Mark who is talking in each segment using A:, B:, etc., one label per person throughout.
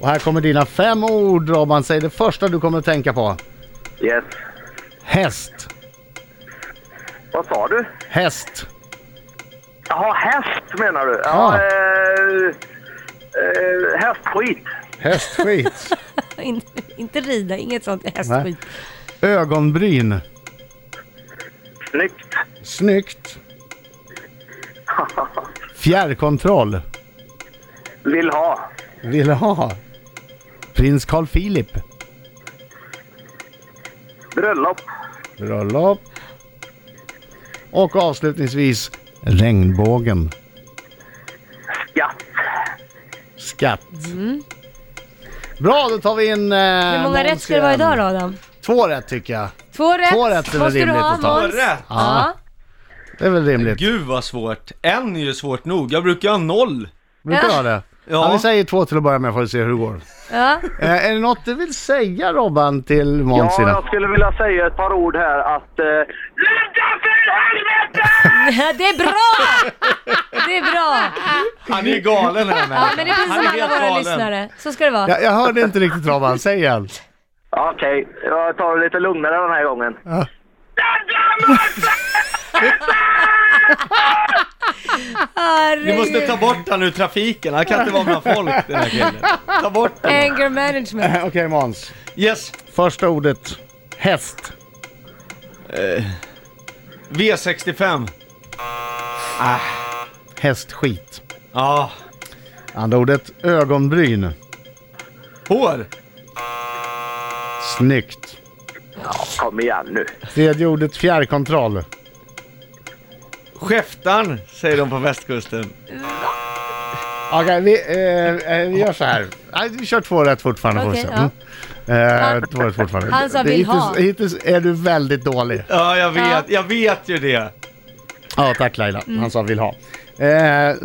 A: Och här kommer dina fem ord Robban. Säg det första du kommer att tänka på.
B: Yes.
A: Häst.
B: Vad sa du?
A: Häst.
B: Jaha, häst menar du?
A: Ja.
B: Ja. Eh, eh, hästskit.
A: Hästskit.
C: In, inte rida, inget sånt hästskit.
D: Äh,
A: Ögonbryn.
B: Snyggt.
A: Snyggt. Fjärrkontroll.
B: Vill ha.
A: Vill ha. Prins Carl Philip.
B: Bröllop.
A: Bröllop. Och avslutningsvis regnbågen.
B: Skatt.
A: Skatt. Bra, då tar vi in eh,
C: Mm. Hur många
A: Måns
C: rätt ska det vara
A: igen.
C: idag då Adam?
A: Två rätt tycker jag.
C: Två rätt.
A: Två rätt är väl
C: Vad ska du
A: rimligt
C: ha
A: att ta.
C: Måns?
D: Två rätt?
C: Ja.
A: Det är väl rimligt.
D: Gud vad svårt. En är ju svårt nog. Jag brukar ha noll.
A: Brukar
C: Ja.
A: ha det.
D: Ja.
A: Ja. vi säger två till att börja med får vi se hur det går.
C: ja.
A: Eh, är det något du vill säga Robban till Måns
B: Ja,
A: innan?
B: jag skulle vilja säga ett par ord här att... Eh, Sluta för helvete!
C: Det är bra! Det är bra.
D: Han är ju galen den här
C: Ja, men det är precis
D: Han
C: som
D: är
C: alla
D: helt
C: våra
D: galen.
C: lyssnare. Så ska det vara.
A: Jag, jag hörde inte riktigt Robban, säg igen.
B: Okej, jag tar det lite lugnare den här gången.
D: Vi
C: Herregud.
D: måste ta bort han ur trafiken. Han kan inte vara bland folk den här killen. Ta bort den.
C: Anger management.
A: Okej Måns,
D: Yes.
A: första ordet. Häst.
D: V65.
A: Hästskit.
D: Ja.
A: Andra ordet. Ögonbryn.
D: Hår.
A: Snyggt.
B: Kom igen nu.
A: Tredje ordet. Fjärrkontroll.
D: Skäftan, säger de på västkusten.
A: Okej, vi, eh, eh, vi gör så här. Nej, vi kör två rätt fortfarande får vi
C: Okej,
A: se. Mm. Eh, två rätt fortfarande.
C: Han sa
A: Det-
C: vill
A: hittills,
C: ha.
A: hittills är du väldigt dålig.
D: Ja, jag vet.
C: Ja.
D: Jag vet ju det.
A: Ja, tack Laila. Han sa vill ha.
C: Mm.
A: Eh,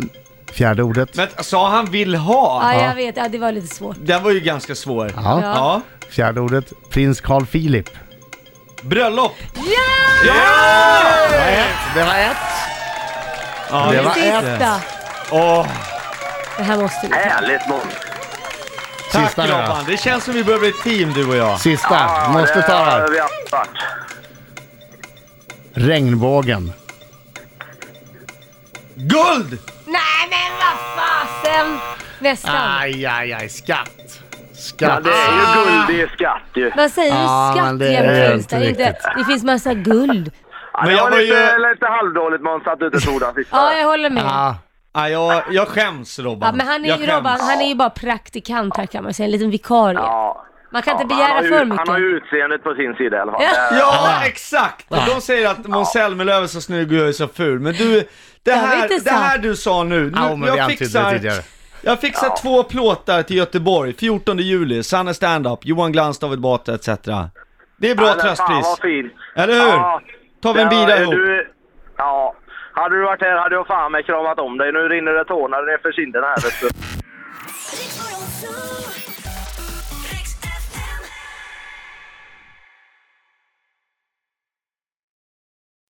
A: fjärde ordet.
D: Men sa han vill ha?
C: Ja, jag vet. Ja, det var lite svårt.
D: Den var ju ganska svår.
A: Ja.
C: Ja.
D: Ja.
A: Fjärde ordet. Prins Carl Philip.
D: Bröllop.
C: Ja!
A: Det var ett. Det var ett.
D: Ja,
A: Det
C: Det
A: var
C: sista.
D: Åh,
C: Det här måste vi.
B: Härligt Måns.
D: tack
A: Sista nu då.
D: Robban. Det känns som vi börjar bli ett team du och jag.
A: Sista. Måste
B: det
A: ta
B: har
A: här.
B: vi haft varit.
A: Regnbågen.
D: Guld!
C: Nej men vad fasen! Nästan.
A: Aj, aj, aj. Skatt.
B: Ja,
A: Skatt.
B: det är ju guld i skatt ju.
C: Vad säger
A: Ja,
C: du?
A: men
C: Skatt
A: det är
C: jämfört
A: inte
C: det, inte,
A: riktigt.
C: det finns massa guld.
B: Ja,
D: Men
B: det
D: jag
B: var
D: var
B: lite,
D: ju-
B: lite halvdåligt Måns att du inte tog den sista.
C: Ja, jag håller med.
A: Ja,
D: Ja, jag, jag skäms Robban.
C: Ja, men han är,
D: jag
C: ju
D: skäms.
C: Robban, han är ju bara praktikant här kan man säga, en liten vikarie.
B: Ja.
C: Man kan
B: Ja,
C: inte
B: men han
C: begära
B: har ju-
C: för
B: Han har
C: mycket.
B: ju utseendet på sin sida i alla fall.
C: Ja.
B: Eh,
D: Ja, exakt! De säger att Måns Zelmerlöw är så snygg och jag är så ful. Men du, det
C: har vi
D: här,
C: inte
D: det här
C: sagt.
D: du sa nu. nu
A: Ja, men vi
D: jag
A: antydde det
D: fixar,
A: tidigare.
D: jag fixar två plåtar till Göteborg, 14 juli, Sanne Standup, Johan Glans, David Batra etc. Det är bra
B: Ja, men Fan
D: tröstpris.
B: vad fint.
D: Eller hur? Tar vi en
B: det
D: bira
B: var-
D: ihop?
B: du- Ja. Hade du varit här hade jag fan mig kramat om dig. Nu rinner det tårar nerför kinderna här vet du.
E: Riks